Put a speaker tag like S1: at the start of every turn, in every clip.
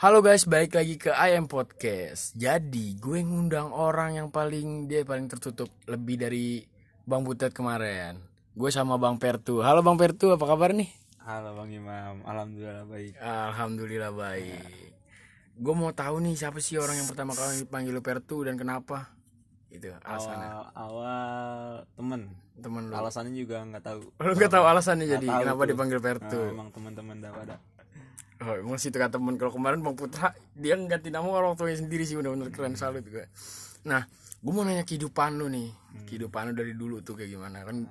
S1: Halo guys, balik lagi ke IM Podcast. Jadi, gue ngundang orang yang paling dia paling tertutup lebih dari Bang Butet kemarin. Gue sama Bang Pertu. Halo Bang Pertu, apa kabar nih?
S2: Halo Bang Imam, alhamdulillah baik.
S1: Iya, Alhamdulillah baik. Ya. Gue mau tahu nih siapa sih orang yang pertama kali panggil lu Pertu dan kenapa? Itu alasannya.
S2: Awal awal temen,
S1: Temen lu.
S2: alasannya juga nggak tahu.
S1: Lu gak tahu Ah. alasannya jadi
S2: tahu
S1: kenapa
S2: tuh.
S1: dipanggil
S2: Nah,
S1: Pertu.
S2: emang teman-teman dah pada.
S1: Oh, emang situ kata temen kalau kemarin Bang Putra dia ngganti nama orang tuanya sendiri sih bener-bener keren salut gue. Nah, gue mau nanya kehidupan lu nih.
S2: Hmm.
S1: Kehidupan lu dari dulu tuh kayak gimana? Kan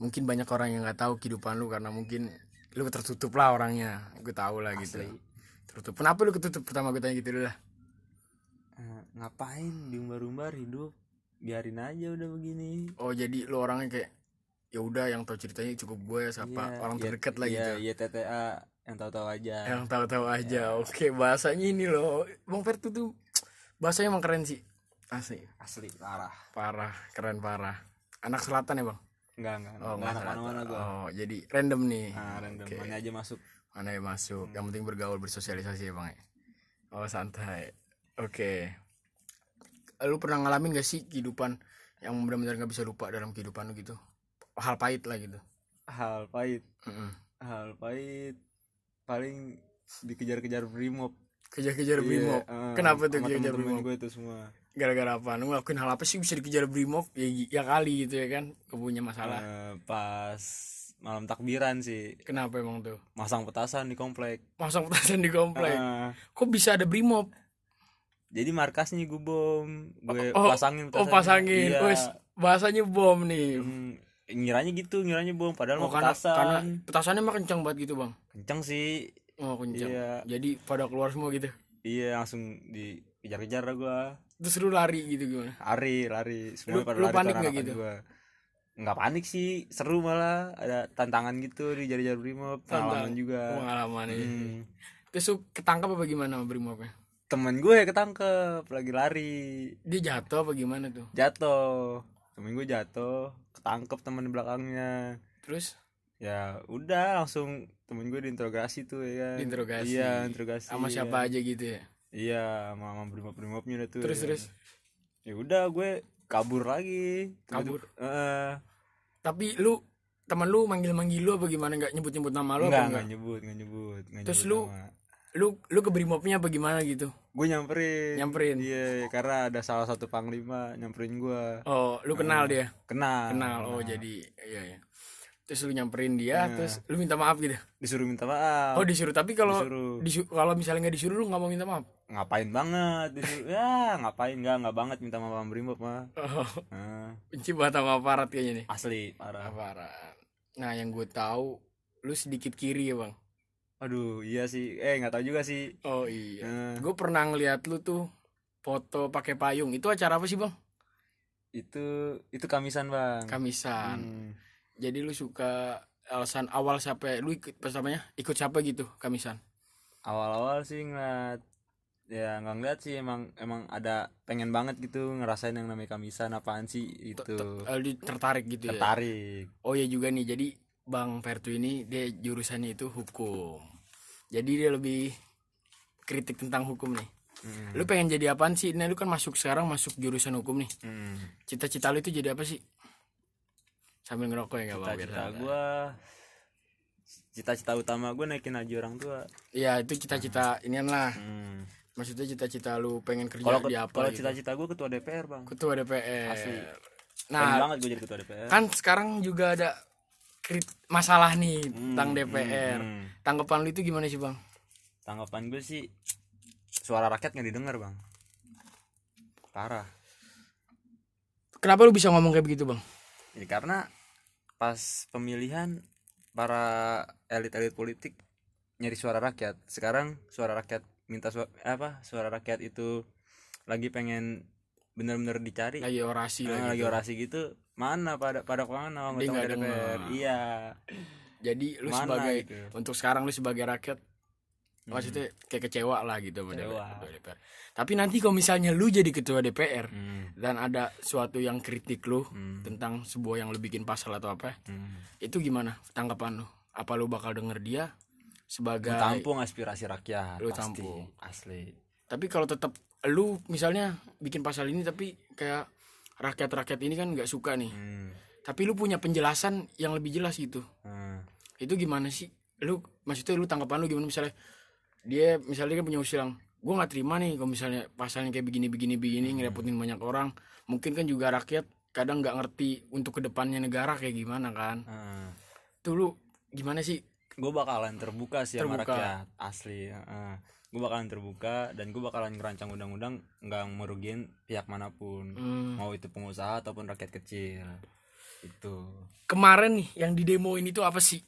S1: mungkin banyak orang yang nggak tahu kehidupan lu karena mungkin lu tertutup lah orangnya. Gue tahu lah gitu. Tertutup. Kenapa lu ketutup? Pertama gue tanya gitu dulu lah.
S2: Eh, ngapain diumbar-umbar hidup? Biarin aja udah begini.
S1: Oh, jadi lu orangnya kayak ya udah yang tahu ceritanya cukup gue siapa
S2: Iya,
S1: orang
S2: iya,
S1: terdekat lah
S2: iya,
S1: gitu.
S2: Iya TTA yang tahu-tahu aja.
S1: yang tahu-tahu
S2: Iya.
S1: aja. Oke, bahasanya ini loh. Bang Pertu tuh bahasanya emang keren sih. Asli.
S2: Asli parah.
S1: Parah, keren parah. Anak selatan ya bang?
S2: Enggak enggak.
S1: Oh,
S2: enggak
S1: nggak
S2: mana-mana gua.
S1: Oh, jadi random nih.
S2: Nah, random
S1: Oke.
S2: mana aja masuk.
S1: Mana yang masuk? Yang penting bergaul, bersosialisasi ya bang ya. Oh santai. Oke. Lu pernah ngalamin gak sih kehidupan yang benar-benar gak bisa lupa dalam kehidupan lu gitu? Hal pahit lah gitu.
S2: Hal pahit,
S1: Mm-mm.
S2: hal pahit paling dikejar-kejar brimob.
S1: Kejar-kejar brimob.
S2: Iya, eh,
S1: Kenapa tuh
S2: sama
S1: kejar
S2: temen-temen
S1: brimob?
S2: gue itu semua.
S1: Gara-gara apa? Lu ngelakuin hal apa sih bisa dikejar brimob? Ya, ya kali gitu ya kan? Kepunya masalah.
S2: Eh, pas malam takbiran sih
S1: Kenapa emang tuh?
S2: masang petasan di komplek.
S1: Masang petasan di komplek.
S2: Ah,
S1: Kok bisa ada brimob?
S2: jadi markasnya gue bom, gue
S1: Oh,
S2: pasangin
S1: Oh
S2: petasannya.
S1: pasangin,
S2: Iya.
S1: wes bahasanya bom nih.
S2: Hmm, ngiranya gitu, ngiranya bom padahal
S1: Oh,
S2: mau
S1: karena,
S2: petasan.
S1: karena petasannya mah kencang banget gitu bang.
S2: Kenceng sih.
S1: Oh kencang.
S2: Iya.
S1: Jadi pada keluar semua gitu.
S2: Iya, langsung dikejar-kejar lah gua.
S1: Terus lu lari gitu gimana?
S2: Lari, lari. Semua
S1: Lu-
S2: pada
S1: lu
S2: lari
S1: panik nggak
S2: anak-anak
S1: gitu?
S2: gua. Nggak panik sih, seru malah ada tantangan gitu di jari-jari brimob, pengalaman
S1: Tantang.
S2: juga.
S1: Pengalaman aja.
S2: Iya. Hmm.
S1: Terus lu ketangkap apa gimana sama brimobnya?
S2: Temen gue ketangkep lagi lari.
S1: Dia jatuh apa gimana tuh?
S2: jatuh temen gue jatuh ketangkep temen di belakangnya
S1: Terus
S2: ya udah langsung temen gue diinterogasi tuh ya kan
S1: Diinterogasi.
S2: iya interogasi
S1: sama siapa aja gitu ya?
S2: iya sama, sama brimob brimob-nya udah tuh
S1: Terus
S2: ya kan.
S1: terus.
S2: ya udah gue kabur lagi
S1: Kabur?
S2: Tiba-tiba- Heeh.
S1: Tapi lu teman lu manggil-manggil lu apa gimana? Gak nyebut-nyebut nama lu apa
S2: enggak enggak
S1: enggak?
S2: nyebut enggak nyebut enggak
S1: Terus
S2: nyebut
S1: lu- Lu lu ke brimobnya apa gimana gitu?
S2: gue nyamperin
S1: Nyamperin?
S2: iya karena ada salah satu panglima nyamperin gue
S1: Oh lu
S2: Iya.
S1: kenal dia?
S2: kenal
S1: Kenal. Oh jadi iya ya. Terus lu nyamperin dia,
S2: Iya.
S1: terus lu minta maaf gitu.
S2: disuruh minta maaf
S1: Oh disuruh tapi kalau
S2: Disuruh.
S1: disu- kalau misalnya nggak disuruh lu nggak mau minta maaf.
S2: ngapain banget disuruh ya ngapain enggak enggak banget minta maaf sama brimob mah
S1: Oh,
S2: Heeh.
S1: benci banget sama aparat kayaknya nih.
S2: asli parah
S1: Aparat. Nah yang gue tahu lu sedikit kiri ya bang.
S2: aduh iya sih eh nggak tahu juga sih
S1: Oh iya.
S2: Eh,
S1: Gue pernah ngeliat lu tuh foto pakai payung. Itu acara apa sih bang?
S2: itu itu kamisan bang
S1: Kamisan.
S2: Hmm.
S1: Jadi lu suka alasan awal siapa? Lu ikut pas namanya ikut siapa gitu kamisan?
S2: awal-awal sih ngeliat ya nggak ngeliat sih emang emang ada pengen banget gitu ngerasain yang namanya kamisan apaan sih itu
S1: Eh, Lu tertarik gitu ya?
S2: tertarik
S1: Oh ya juga nih, jadi Bang Pertu ini dia jurusannya itu hukum. Jadi dia lebih kritik tentang hukum nih.
S2: Hmm.
S1: Lu pengen jadi apaan sih? Nah, lu kan masuk sekarang masuk jurusan hukum nih.
S2: Hmm.
S1: Cita-cita lu itu jadi apa sih? Sambil ngerokok ya nggak apa-apa.
S2: cita-cita
S1: biar-
S2: gue cita-cita utama gue naikin haji orang tua
S1: Iya, itu cita-cita inian lah.
S2: Hmm.
S1: Maksudnya cita-cita lu pengen kerja
S2: kalau
S1: di
S2: ke-
S1: apa
S2: kalau
S1: gitu.
S2: cita-cita gue ketua DPR bang
S1: Ketua DPR.
S2: Asli. pengen
S1: Nah,
S2: banget gue jadi ketua DPR
S1: kan sekarang juga ada krit- masalah nih tentang DPR.
S2: hmm.
S1: Tanggapan lu itu gimana sih, Bang?
S2: tanggapan gue sih suara rakyat nggak didengar bang parah
S1: Kenapa lu bisa ngomong kayak begitu, Bang?
S2: ini Ya, karena pas pemilihan para elit-elit politik nyari suara rakyat sekarang suara rakyat minta suara apa suara rakyat itu lagi pengen bener-bener dicari
S1: lagi orasi
S2: Nah,
S1: lagi.
S2: lagi orasi gitu mana pada pada
S1: Dia
S2: mana anggota
S1: nggak
S2: DPR
S1: dengar.
S2: iya
S1: Jadi lu
S2: Mana
S1: sebagai
S2: gitu. Hmm.
S1: untuk sekarang lu sebagai rakyat maksudnya kayak kecewa lah gitu sama
S2: Kecewa.
S1: DPR, ketua DPR. Tapi nanti kalau misalnya lu jadi ketua DPR
S2: Hmm,
S1: dan ada suatu yang kritik lu
S2: Hmm.
S1: tentang sebuah yang lu bikin pasal atau apa,
S2: hmm.
S1: itu gimana tanggapan lu? Apa lu bakal denger dia sebagai
S2: tampung aspirasi
S1: Nah,
S2: rakyat
S1: Lu
S2: pasti
S1: tampung.
S2: asli
S1: tapi kalau tetap lu misalnya bikin pasal ini tapi kayak rakyat-rakyat ini kan nggak suka nih
S2: hmm.
S1: tapi lu punya penjelasan yang lebih jelas gitu
S2: Hmm.
S1: itu gimana sih lu maksudnya lu tanggapan lu gimana misalnya dia misalnya dia kan punya usulan gue nggak terima nih kalau misalnya pasalnya kayak begini begini begini ngerepotin banyak orang mungkin kan juga rakyat kadang nggak ngerti untuk kedepannya negara kayak gimana kan
S2: Hmm.
S1: tuh lu gimana sih
S2: gue bakalan terbuka sih sama
S1: Terbuka.
S2: rakyat asli gue bakalan terbuka dan gue bakalan ngerancang undang-undang nggak merugiin pihak manapun
S1: Hmm.
S2: mau itu pengusaha ataupun rakyat kecil itu
S1: kemarin nih yang didemoin itu apa sih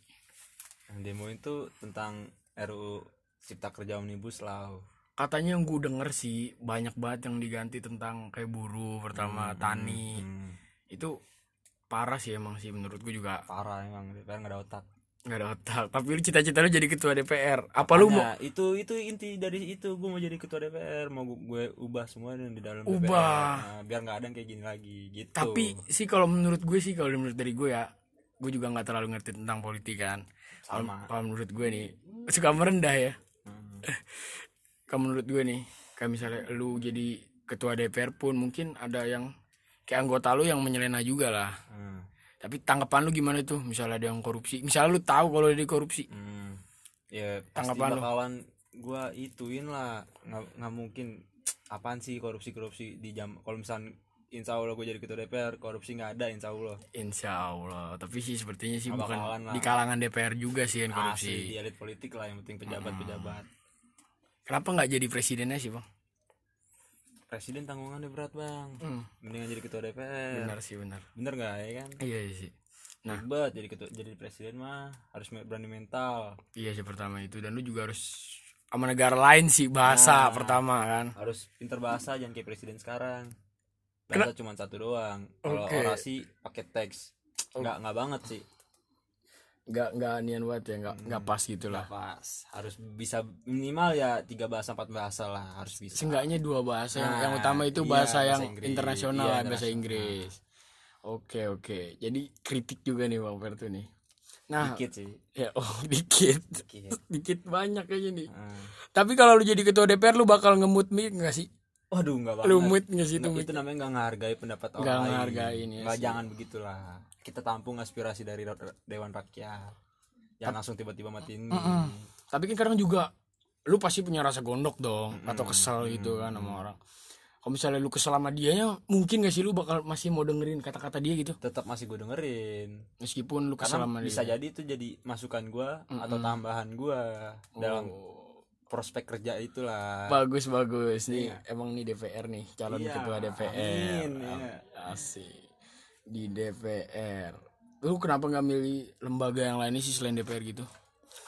S2: Yang demo itu tentang RUU Cipta Kerja Omnibus Law
S1: katanya yang gue denger sih banyak banget yang diganti tentang kayak buruh pertama tani
S2: Hmm,
S1: itu parah sih emang sih menurut gue juga
S2: parah emang DPR nggak ada otak
S1: nggak ada otak tapi lu cita-cita lu jadi ketua DPR apa lu mau
S2: Nah, itu itu inti dari itu gue mau jadi ketua DPR mau gu- gue ubah semua yang di dalam
S1: Ubah.
S2: DPR Nah, biar nggak ada yang kayak gini lagi gitu
S1: tapi sih kalau menurut gue sih kalau menurut dari gue ya gue juga nggak terlalu ngerti tentang politik kan kalau
S2: Sama.
S1: kalau menurut gue nih suka merendah ya
S2: Hmm.
S1: kalau menurut gue nih kayak misalnya lu jadi ketua DPR pun mungkin ada yang kayak anggota lu yang menyelena juga lah
S2: Hmm.
S1: tapi tanggapan lu gimana tuh misalnya ada yang korupsi misalnya lu tahu kalau dia korupsi
S2: Hmm. Ya pasti
S1: Tanggapan lu?
S2: bakalan gua ituin lah nggak nggak mungkin apaan sih korupsi korupsi di jam kalau misalnya insya Allah gue jadi ketua DPR korupsi nggak ada insya Allah
S1: insya Allah tapi sih sepertinya sih
S2: Nggak
S1: bukan
S2: bakalan lah. Ah,
S1: di kalangan DPR juga sih yang
S2: asli di
S1: korupsi Hmm.
S2: elit politik lah yang penting pejabat pejabat
S1: kenapa nggak jadi presidennya sih bang
S2: presiden tanggungannya berat bang
S1: Hmm.
S2: mendingan jadi ketua DPR
S1: benar sih benar
S2: bener nggak ya kan
S1: iya, iya sih nah
S2: ribet jadi ketua jadi presiden mah harus me- berani mental
S1: iya sih pertama itu dan lu juga harus sama negara lain sih bahasa pertama kan
S2: harus pinter bahasa jangan kayak presiden sekarang bahasa cuma satu doang kalau
S1: Oke.
S2: orasi pakai teks nggak nggak banget sih
S1: nggak nggak nian banget ya nggak nggak pas gitu lah
S2: pas harus bisa minimal ya tiga bahasa empat bahasa lah harus bisa
S1: seenggaknya dua bahasa yang-
S2: Nah,
S1: yang utama itu
S2: iya,
S1: bahasa
S2: bahasa
S1: yang
S2: Inggris.
S1: internasional
S2: Iya,
S1: lah, bahasa
S2: internasional.
S1: Inggris oke oke jadi kritik juga nih bang Pertu nih nah
S2: dikit sih
S1: ya oh dikit
S2: dikit Ah.
S1: dikit banyak aja nih
S2: Heeh.
S1: tapi kalau lu jadi ketua DPR lu bakal ngemut mic nggak sih
S2: waduh nggak banget
S1: lu mut nggak sih
S2: Nggak,
S1: itu mut
S2: itu namanya nggak menghargai pendapat orang
S1: Nggak
S2: lain
S1: ngehargain, ya
S2: nggak
S1: sih.
S2: jangan begitulah kita tampung aspirasi dari ra- dewan rakyat jangan langsung tiba-tiba matiin
S1: tapi kan kadang juga lu pasti punya rasa gondok dong atau kesel gitu kan sama orang kalau misalnya lu kesel sama dianya mungkin gak sih lu bakal masih mau dengerin kata-kata dia gitu
S2: tetap masih gue dengerin
S1: meskipun lu kesel
S2: karena
S1: sama
S2: bisa
S1: dia
S2: jadi itu jadi masukan gua atau tambahan gua dalam
S1: Oh.
S2: prospek kerja itulah
S1: bagus bagus nih emang nih DPR nih calon
S2: Iya,
S1: ketua DPR
S2: amin, iya.
S1: asik di DPR lu kenapa nggak milih lembaga yang lain sih selain DPR gitu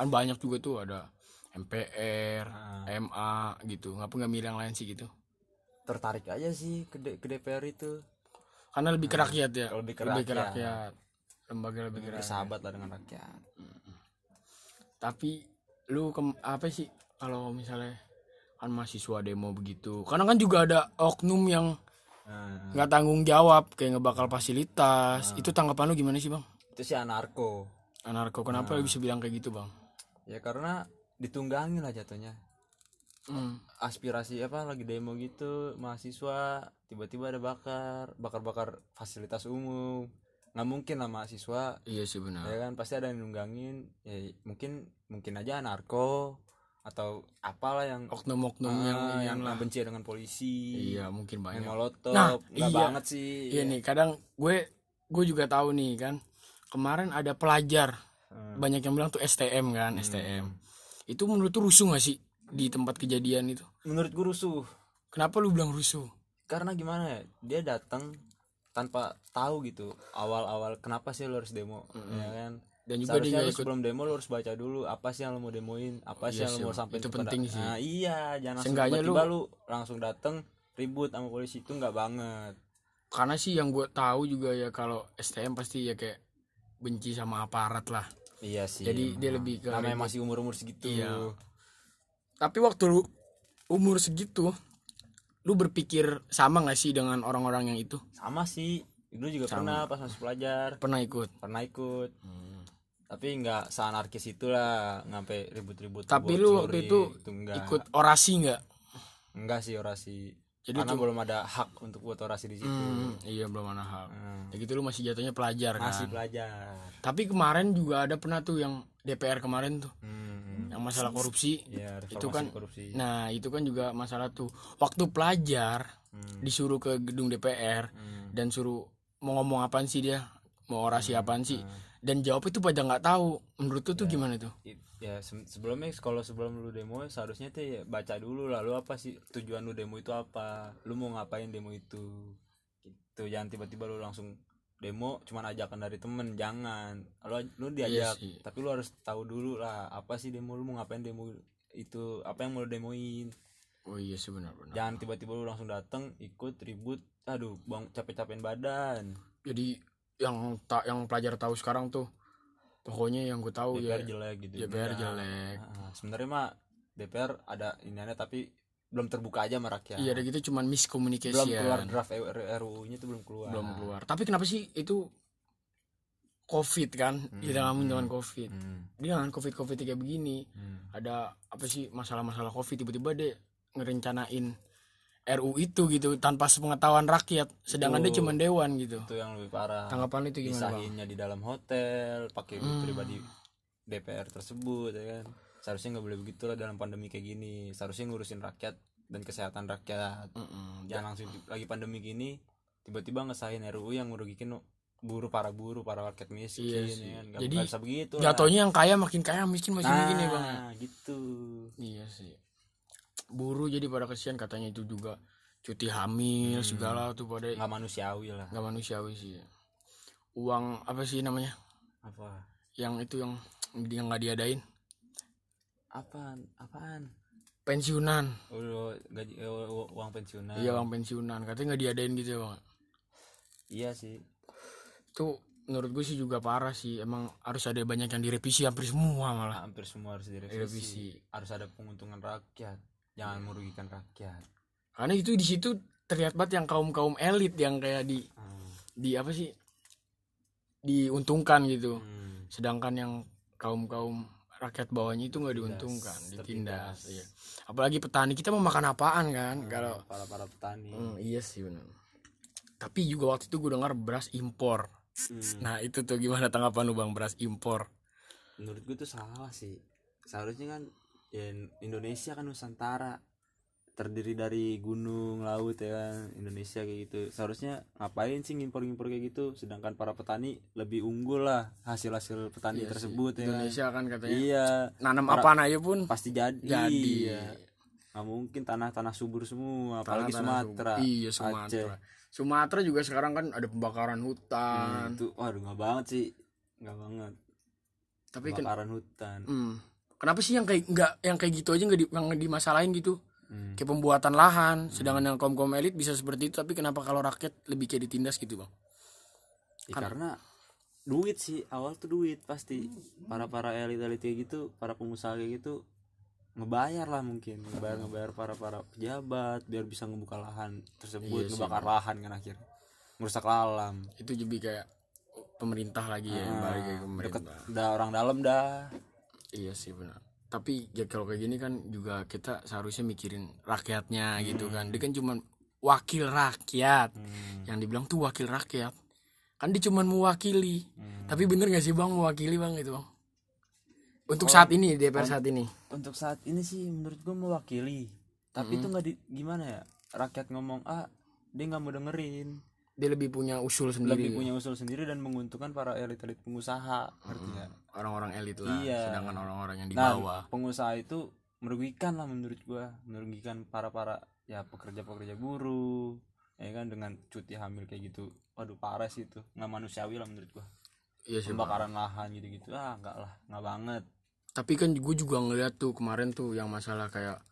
S1: kan banyak juga tuh ada MPR,
S2: Ah.
S1: MA gitu ngapa nggak milih yang lain sih gitu
S2: tertarik aja sih ke, D- ke DPR itu
S1: karena lebih ke rakyat ya
S2: Hmm. Lebih ke rakyat.
S1: rakyat. lembaga lebih ke rakyat
S2: bersahabat lah dengan rakyat
S1: tapi lu kem- apa sih kalau misalnya kan mahasiswa demo begitu karena kan juga ada oknum yang
S2: Nah,
S1: nggak tanggung jawab kayak ngebakal fasilitas
S2: Hmm.
S1: itu tanggapan lu gimana sih bang
S2: itu sih anarko
S1: anarko kenapa
S2: Hmm.
S1: lu bisa bilang kayak gitu bang
S2: ya karena ditunggangi lah jatuhnya
S1: Hmm.
S2: aspirasi apa lagi demo gitu mahasiswa tiba-tiba ada bakar bakar-bakar fasilitas umum nggak mungkin lah mahasiswa
S1: iya sih benar
S2: ya kan pasti ada yang nunggangin ya mungkin mungkin aja anarko atau apalah yang
S1: oknum-oknum
S2: Ah,
S1: Oh, yang
S2: yang,
S1: yang lah.
S2: benci dengan polisi
S1: iya mungkin
S2: main
S1: banyak
S2: molotov
S1: Nah,
S2: nggak
S1: iya.
S2: banget sih
S1: iya nih kadang gue gue juga tahu nih kan kemarin ada pelajar banyak yang bilang tuh STM kan STM itu menurut tuh rusuh gak sih di tempat kejadian itu
S2: menurut gue rusuh
S1: kenapa lu bilang rusuh
S2: karena gimana ya dia datang tanpa tahu gitu awal-awal kenapa sih lo harus demo ya kan
S1: dan juga dia
S2: Seharusnya
S1: nggak
S2: lu
S1: ikut
S2: sebelum demo lo harus baca dulu apa sih yang lo mau demoin, apa
S1: Iya
S2: sih yang
S1: sih,
S2: lo mau sampai
S1: itu penting sih.
S2: Nah, iya, jangan langsung
S1: Seenggaknya
S2: tiba-tiba lo langsung datang ribut sama polisi itu nggak banget.
S1: karena sih yang gue tahu juga ya kalau STM pasti ya kayak benci sama aparat lah
S2: Iya sih.
S1: Jadi dia
S2: emang.
S1: lebih ke
S2: namanya
S1: ribut.
S2: masih umur-umur segitu.
S1: Iya. tapi waktu lu umur segitu lu berpikir sama gak sih dengan orang-orang yang itu
S2: Sama sih. Dulu juga pernah pas masih pelajar,
S1: pernah ikut
S2: pernah ikut. tapi nggak seanarkis itulah ngapai ribut-ribut
S1: Tapi
S2: buat gitu,
S1: lu waktu
S2: sorry,
S1: itu
S2: enggak
S1: ikut orasi nggak
S2: enggak sih orasi
S1: Jadi
S2: karena belum ada hak untuk buat orasi di situ
S1: Hmm, iya belum ada hak
S2: gitu. Hmm.
S1: ya gitu lu masih jatuhnya pelajar kan
S2: masih pelajar
S1: tapi kemarin juga ada pernah tuh yang DPR kemarin tuh
S2: hmm.
S1: yang masalah korupsi
S2: ya
S1: itu kan
S2: korupsi
S1: nah itu kan juga masalah tuh waktu pelajar
S2: Hmm.
S1: disuruh ke gedung DPR
S2: Hmm.
S1: dan suruh mau ngomong apaan sih dia mau orasi apaan sih
S2: hmm.
S1: dan jawab itu pada nggak tahu menurut tuh
S2: Iya.
S1: tuh gimana tuh
S2: It- ya se- sebelumnya kalau sebelum lu demo seharusnya tuh ya baca dulu lah lu apa sih tujuan lu demo itu apa lu mau ngapain demo itu gitu jangan tiba-tiba lu langsung demo cuman ajakan dari temen jangan lu lu diajak
S1: Iya sih.
S2: tapi lu harus tahu dulu lah apa sih demo lu mau ngapain demo itu apa yang mau lu demoin
S1: oh iya sih benar benar
S2: jangan tiba-tiba lu langsung dateng ikut ribut aduh bang capek-capekin badan
S1: jadi yang tak yang pelajar tahu sekarang tuh pokoknya yang gue tahu
S2: DPR
S1: ya
S2: jelek gitu
S1: DPR
S2: Iya.
S1: jelek
S2: Ah, sebenarnya mah DPR ada iniannya tapi belum terbuka aja sama rakyat
S1: iya ada gitu cuman
S2: belum
S1: miscommunication
S2: keluar draft E RUU-nya itu belum keluar
S1: belum keluar tapi kenapa sih itu covid kan kita ngalamin dengan covid
S2: Hmm,
S1: dia dengan covid covid kayak begini
S2: hmm.
S1: ada apa sih masalah-masalah covid tiba-tiba deh ngerencanain RU itu gitu tanpa sepengetahuan rakyat sedangkan dia cuma dewan gitu
S2: itu yang lebih parah
S1: tanggapan lu itu gimana bang? Hmm.
S2: disahinnya di dalam hotel pakai duit pribadi DPR tersebut ya kan seharusnya nggak boleh begitu lah dalam pandemi kayak gini seharusnya ngurusin rakyat dan kesehatan rakyat
S1: Mm-mm.
S2: jangan langsung di- lagi pandemi gini tiba-tiba ngesahin RUU yang merugikan buruh para buruh para rakyat miskin
S1: Iya
S2: ya
S1: sih.
S2: kan? Nggak-
S1: Jadi,
S2: nggak bisa begitu lah.
S1: jatuhnya yang kaya makin kaya miskin makin
S2: nah,
S1: begini bang
S2: gitu
S1: iya sih buruh jadi pada kesian katanya itu juga cuti hamil
S2: Hmm.
S1: segala tuh pada
S2: nggak manusiawi lah
S1: nggak manusiawi sih uang apa sih namanya
S2: apa
S1: yang itu yang dia nggak diadain
S2: apaan apaan
S1: pensiunan
S2: Udah, gaji eh, u- uang pensiunan
S1: iya uang pensiunan katanya nggak diadain gitu ya bang
S2: Iya sih
S1: itu menurut gue sih juga parah sih emang harus ada banyak yang direvisi hampir semua malah
S2: Nah, hampir semua harus direvisi
S1: direvisi
S2: harus ada penguntungan rakyat jangan merugikan rakyat
S1: karena itu di situ terlihat banget yang kaum kaum elit yang kayak di
S2: Hmm.
S1: di apa sih diuntungkan gitu
S2: Hmm.
S1: sedangkan yang kaum kaum rakyat bawahnya itu nggak diuntungkan ditindas iya. apalagi petani kita mau makan apaan kan kalau
S2: para para petani
S1: Hmm, iya sih benar tapi juga waktu itu gue dengar beras impor
S2: Hmm.
S1: nah itu tuh gimana tanggapan lu bang beras impor
S2: menurut gue itu salah sih seharusnya kan ya, Indonesia kan Nusantara terdiri dari gunung laut ya kan Indonesia kayak gitu seharusnya ngapain sih ngimpor-ngimpor kayak gitu sedangkan para petani lebih unggul lah hasil-hasil petani tersebut ya kan.
S1: Iya Indonesia kan katanya
S2: iya
S1: nanam apaan aja pun
S2: pasti jadi
S1: Jadi.
S2: Iya. nggak mungkin tanah-tanah subur semua apalagi
S1: tanah-tanah
S2: Sumatera
S1: Sum- iya Sumatera Sumatera juga sekarang kan ada pembakaran hutan
S2: Nah, itu waduh nggak banget sih nggak banget
S1: tapi ken-
S2: kebakaran hutan
S1: hmm, kenapa sih yang kayak nggak yang kayak gitu aja nggak di, yang nggak dimasalahin gitu
S2: Hmm.
S1: kayak pembuatan lahan sedangkan yang kaum kaum elit bisa seperti itu tapi kenapa kalau rakyat lebih kayak ditindas gitu bang Iya.
S2: Ya, karena duit sih awal tuh duit pasti para para elit elit kayak gitu para pengusaha kayak gitu ngebayar lah mungkin ngebayar ngebayar para para pejabat biar bisa ngebuka lahan
S1: Iya
S2: tersebut ngebakar lahan kan akhir merusak alam
S1: itu jadi kayak pemerintah lagi ya balik
S2: Ah,
S1: lagi ke pemerintah
S2: udah orang dalam dah
S1: iya sih benar tapi ya kalau kayak gini kan juga kita seharusnya mikirin rakyatnya gitu
S2: Hmm.
S1: kan dia kan cuman wakil rakyat yang dibilang tuh wakil rakyat kan dia cuman mewakili
S2: Hmm.
S1: tapi bener gak sih bang mewakili bang itu bang
S2: Oh.
S1: untuk saat ini DPR saat ini
S2: untuk saat ini sih menurut gue mewakili
S1: Hmm.
S2: tapi itu nggak di gimana ya rakyat ngomong ah dia nggak mau dengerin
S1: dia lebih punya usul
S2: lebih
S1: sendiri ya?
S2: punya usul sendiri dan menguntungkan para elit elit pengusaha
S1: Hmm.
S2: ngerti nggak?
S1: orang-orang elit lah
S2: Iya.
S1: sedangkan orang-orang yang di
S2: Nah,
S1: bawah
S2: pengusaha itu merugikan lah menurut gua, merugikan para-para ya pekerja-pekerja buruh, ya kan dengan cuti hamil kayak gitu. Waduh, parah sih itu. nggak manusiawi lah menurut gua.
S1: iya sih Bang.
S2: Pembakaran lahan gitu-gitu. Ah, enggak lah, nggak banget.
S1: tapi kan gue juga ngeliat tuh kemarin tuh yang masalah kayak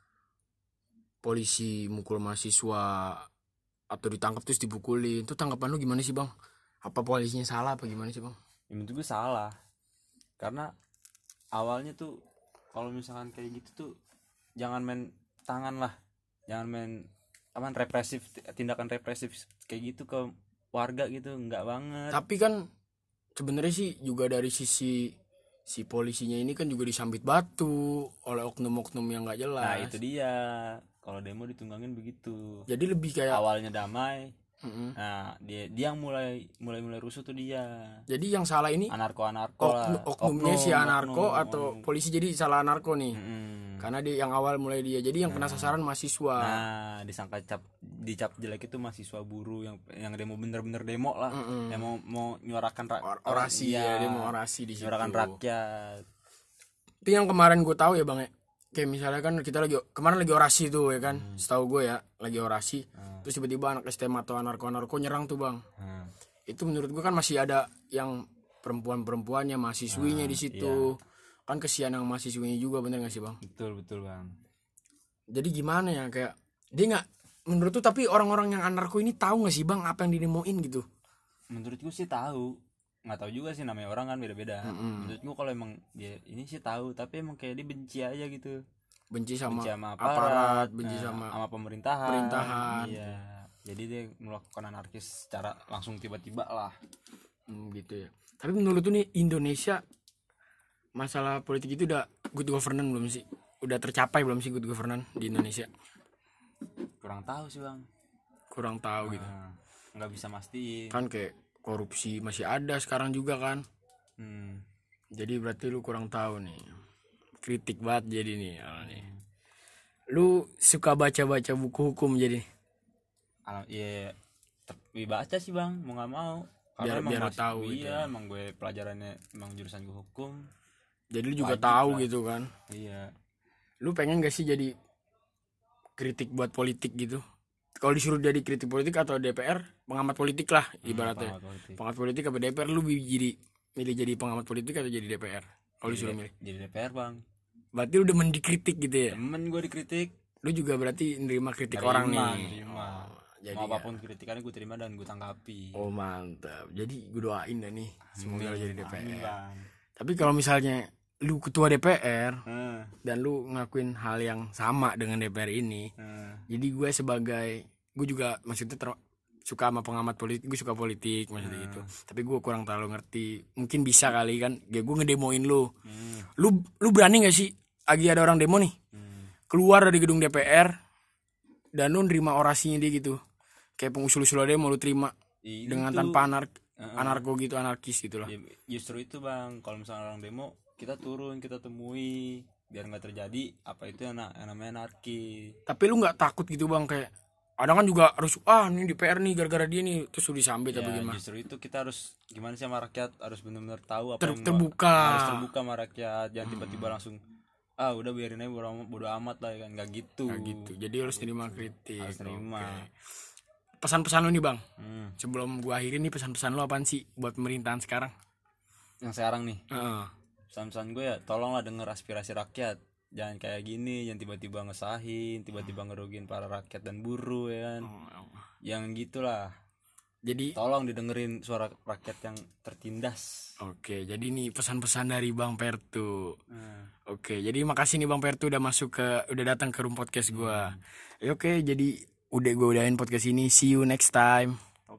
S1: polisi mukul mahasiswa atau ditangkap terus dipukulin itu tanggapan lu gimana sih bang apa polisinya salah apa gimana sih bang
S2: Ya, menurut gua salah. Karena awalnya tuh kalau misalkan kayak gitu tuh jangan main tangan lah. Jangan main aman represif tindakan represif kayak gitu ke warga gitu nggak banget
S1: tapi kan sebenarnya sih juga dari sisi si polisinya ini kan juga disambit batu oleh oknum-oknum yang nggak jelas
S2: nah itu dia kalau demo ditunggangin begitu
S1: jadi lebih kayak
S2: awalnya damai
S1: Ya. Mm-mm.
S2: nah dia dia yang mulai mulai mulai rusuh tuh dia
S1: jadi yang salah ini
S2: anarko anarko
S1: oknum,
S2: lah
S1: oknumnya si
S2: Oknum,
S1: anarko
S2: oknum,
S1: atau polisi jadi salah anarko nih
S2: Mm.
S1: karena dia yang awal mulai dia jadi yang kena sasaran mahasiswa
S2: Nah, disangka cap dicap jelek itu mahasiswa buruh yang yang demo bener-bener demo lah. Yang mau mau nyuarakan ra-
S1: Or- orasi
S2: iya,
S1: ya dia mau orasi di situ
S2: Nyuarakan rakyat.
S1: itu yang kemarin gue tahu ya bang ya kayak misalnya kan kita lagi kemarin lagi orasi tuh ya kan
S2: Hmm.
S1: setahu gue ya lagi orasi terus tiba-tiba anak STM atau anarko anarko nyerang tuh bang
S2: Hmm.
S1: itu menurut gue kan masih ada yang perempuan-perempuannya mahasiswinya
S2: Ah,
S1: di situ
S2: iya.
S1: kan kesian yang mahasiswinya juga bener gak sih bang
S2: Betul betul, Bang.
S1: jadi gimana ya kayak dia nggak menurut tuh tapi orang-orang yang anarko ini tahu nggak sih bang apa yang didemoin gitu
S2: Menurut gue sih tahu. nggak tahu juga sih namanya orang kan beda-beda. Menurut gue kalau emang dia ini sih tahu, tapi emang kayak dia benci aja gitu.
S1: benci sama,
S2: Benci sama
S1: aparat,
S2: aparat,
S1: benci
S2: nah,
S1: sama
S2: sama pemerintahan.
S1: pemerintahan.
S2: Iya. Jadi dia melakukan anarkis secara langsung tiba-tiba lah.
S1: Hmm, gitu ya tapi menurut tuh nih Indonesia masalah politik itu udah good governance belum sih udah tercapai belum sih good governance di Indonesia
S2: Kurang tahu sih, Bang.
S1: kurang tahu gitu
S2: Nah, nggak bisa mastiin.
S1: kan kayak korupsi masih ada sekarang juga kan
S2: Hmm.
S1: Jadi berarti lu kurang tahu nih. Kritik banget jadi nih. awal nih. Lu suka baca-baca buku hukum jadi
S2: Alam, iya, ter- dibaca sih bang, mau nggak mau.
S1: Biar-
S2: emang
S1: biar
S2: masih-
S1: tahu
S2: iya,
S1: gitu
S2: emang gue pelajarannya emang jurusan gue hukum.
S1: Jadi lu juga
S2: Wajib
S1: tahu
S2: lah.
S1: gitu kan.
S2: Iya.
S1: Lu pengen gak sih jadi kritik buat politik gitu? Kalau disuruh jadi kritik politik atau DPR, pengamat politik lah ibaratnya.
S2: pengamat politik.
S1: Pengamat politik apa DPR lu bi- jadi milih jadi pengamat politik atau jadi DPR? Kalau disuruh milih.
S2: Jadi DPR bang.
S1: Berarti lu udah mendikritik gitu ya.
S2: Temen gue dikritik.
S1: Lu juga berarti nerima kritik orang nih. Oh,
S2: terima, terima.
S1: jadi ya.
S2: mau apapun kritikannya gue terima dan gue tanggapi.
S1: Oh mantap. Jadi gue doain dah nih semoga lu jadi
S2: Amin,
S1: DPR.
S2: bang.
S1: Tapi kalau misalnya lu ketua DPR
S2: Hmm,
S1: dan lu ngakuin hal yang sama dengan DPR ini,
S2: hmm.
S1: jadi gue sebagai gue juga maksudnya ter- suka sama pengamat politik, gue suka politik maksudnya
S2: Hmm.
S1: gitu. Tapi gue kurang terlalu ngerti. Mungkin bisa kali kan, ya gue ngedemoin lu.
S2: Hmm.
S1: Lu lu berani gak sih? Lagi ada orang demo nih,
S2: Hmm.
S1: keluar dari gedung DPR dan lu nerima orasinya dia gitu. Kayak pengusul-usul demo lu terima
S2: Itu,
S1: dengan tanpa anar- anarko gitu, anarkis gitu lah.
S2: ya, justru itu bang, kalau misalnya orang demo kita turun kita temui biar nggak terjadi apa itu yang, na- yang namanya anarki.
S1: tapi lu nggak takut gitu bang kayak ada kan juga harus ah ini DPR nih gara-gara dia nih terus lu disambit apa
S2: Ya,
S1: gimana
S2: justru itu kita harus gimana sih sama rakyat harus benar-benar tahu apa
S1: Ter-
S2: yang-
S1: terbuka.
S2: Hmm.
S1: Hmm.
S2: harus terbuka sama rakyat jangan tiba-tiba langsung ah udah biarin aja bodo amat, bodo amat lah ya kan nggak gitu,
S1: Nah, gitu jadi harus terima kritik
S2: harus terima
S1: pesan-pesan lu nih bang
S2: Hmm.
S1: sebelum gua akhirin nih pesan-pesan lu apaan sih buat pemerintahan sekarang
S2: yang sekarang nih
S1: Heeh.
S2: pesan-pesan gue ya tolonglah denger aspirasi rakyat jangan kayak gini jangan tiba-tiba ngesahin tiba-tiba ngerugiin para rakyat dan buruh ya
S1: Oh.
S2: kan yang gitulah
S1: jadi
S2: tolong didengerin suara rakyat yang tertindas
S1: oke jadi nih pesan-pesan dari bang Pertu
S2: Hmm.
S1: Oke, jadi makasih nih Bang Pertu udah masuk ke udah datang ke room podcast gua. Ya, Oke, jadi udah gua udahin podcast ini. See you next time.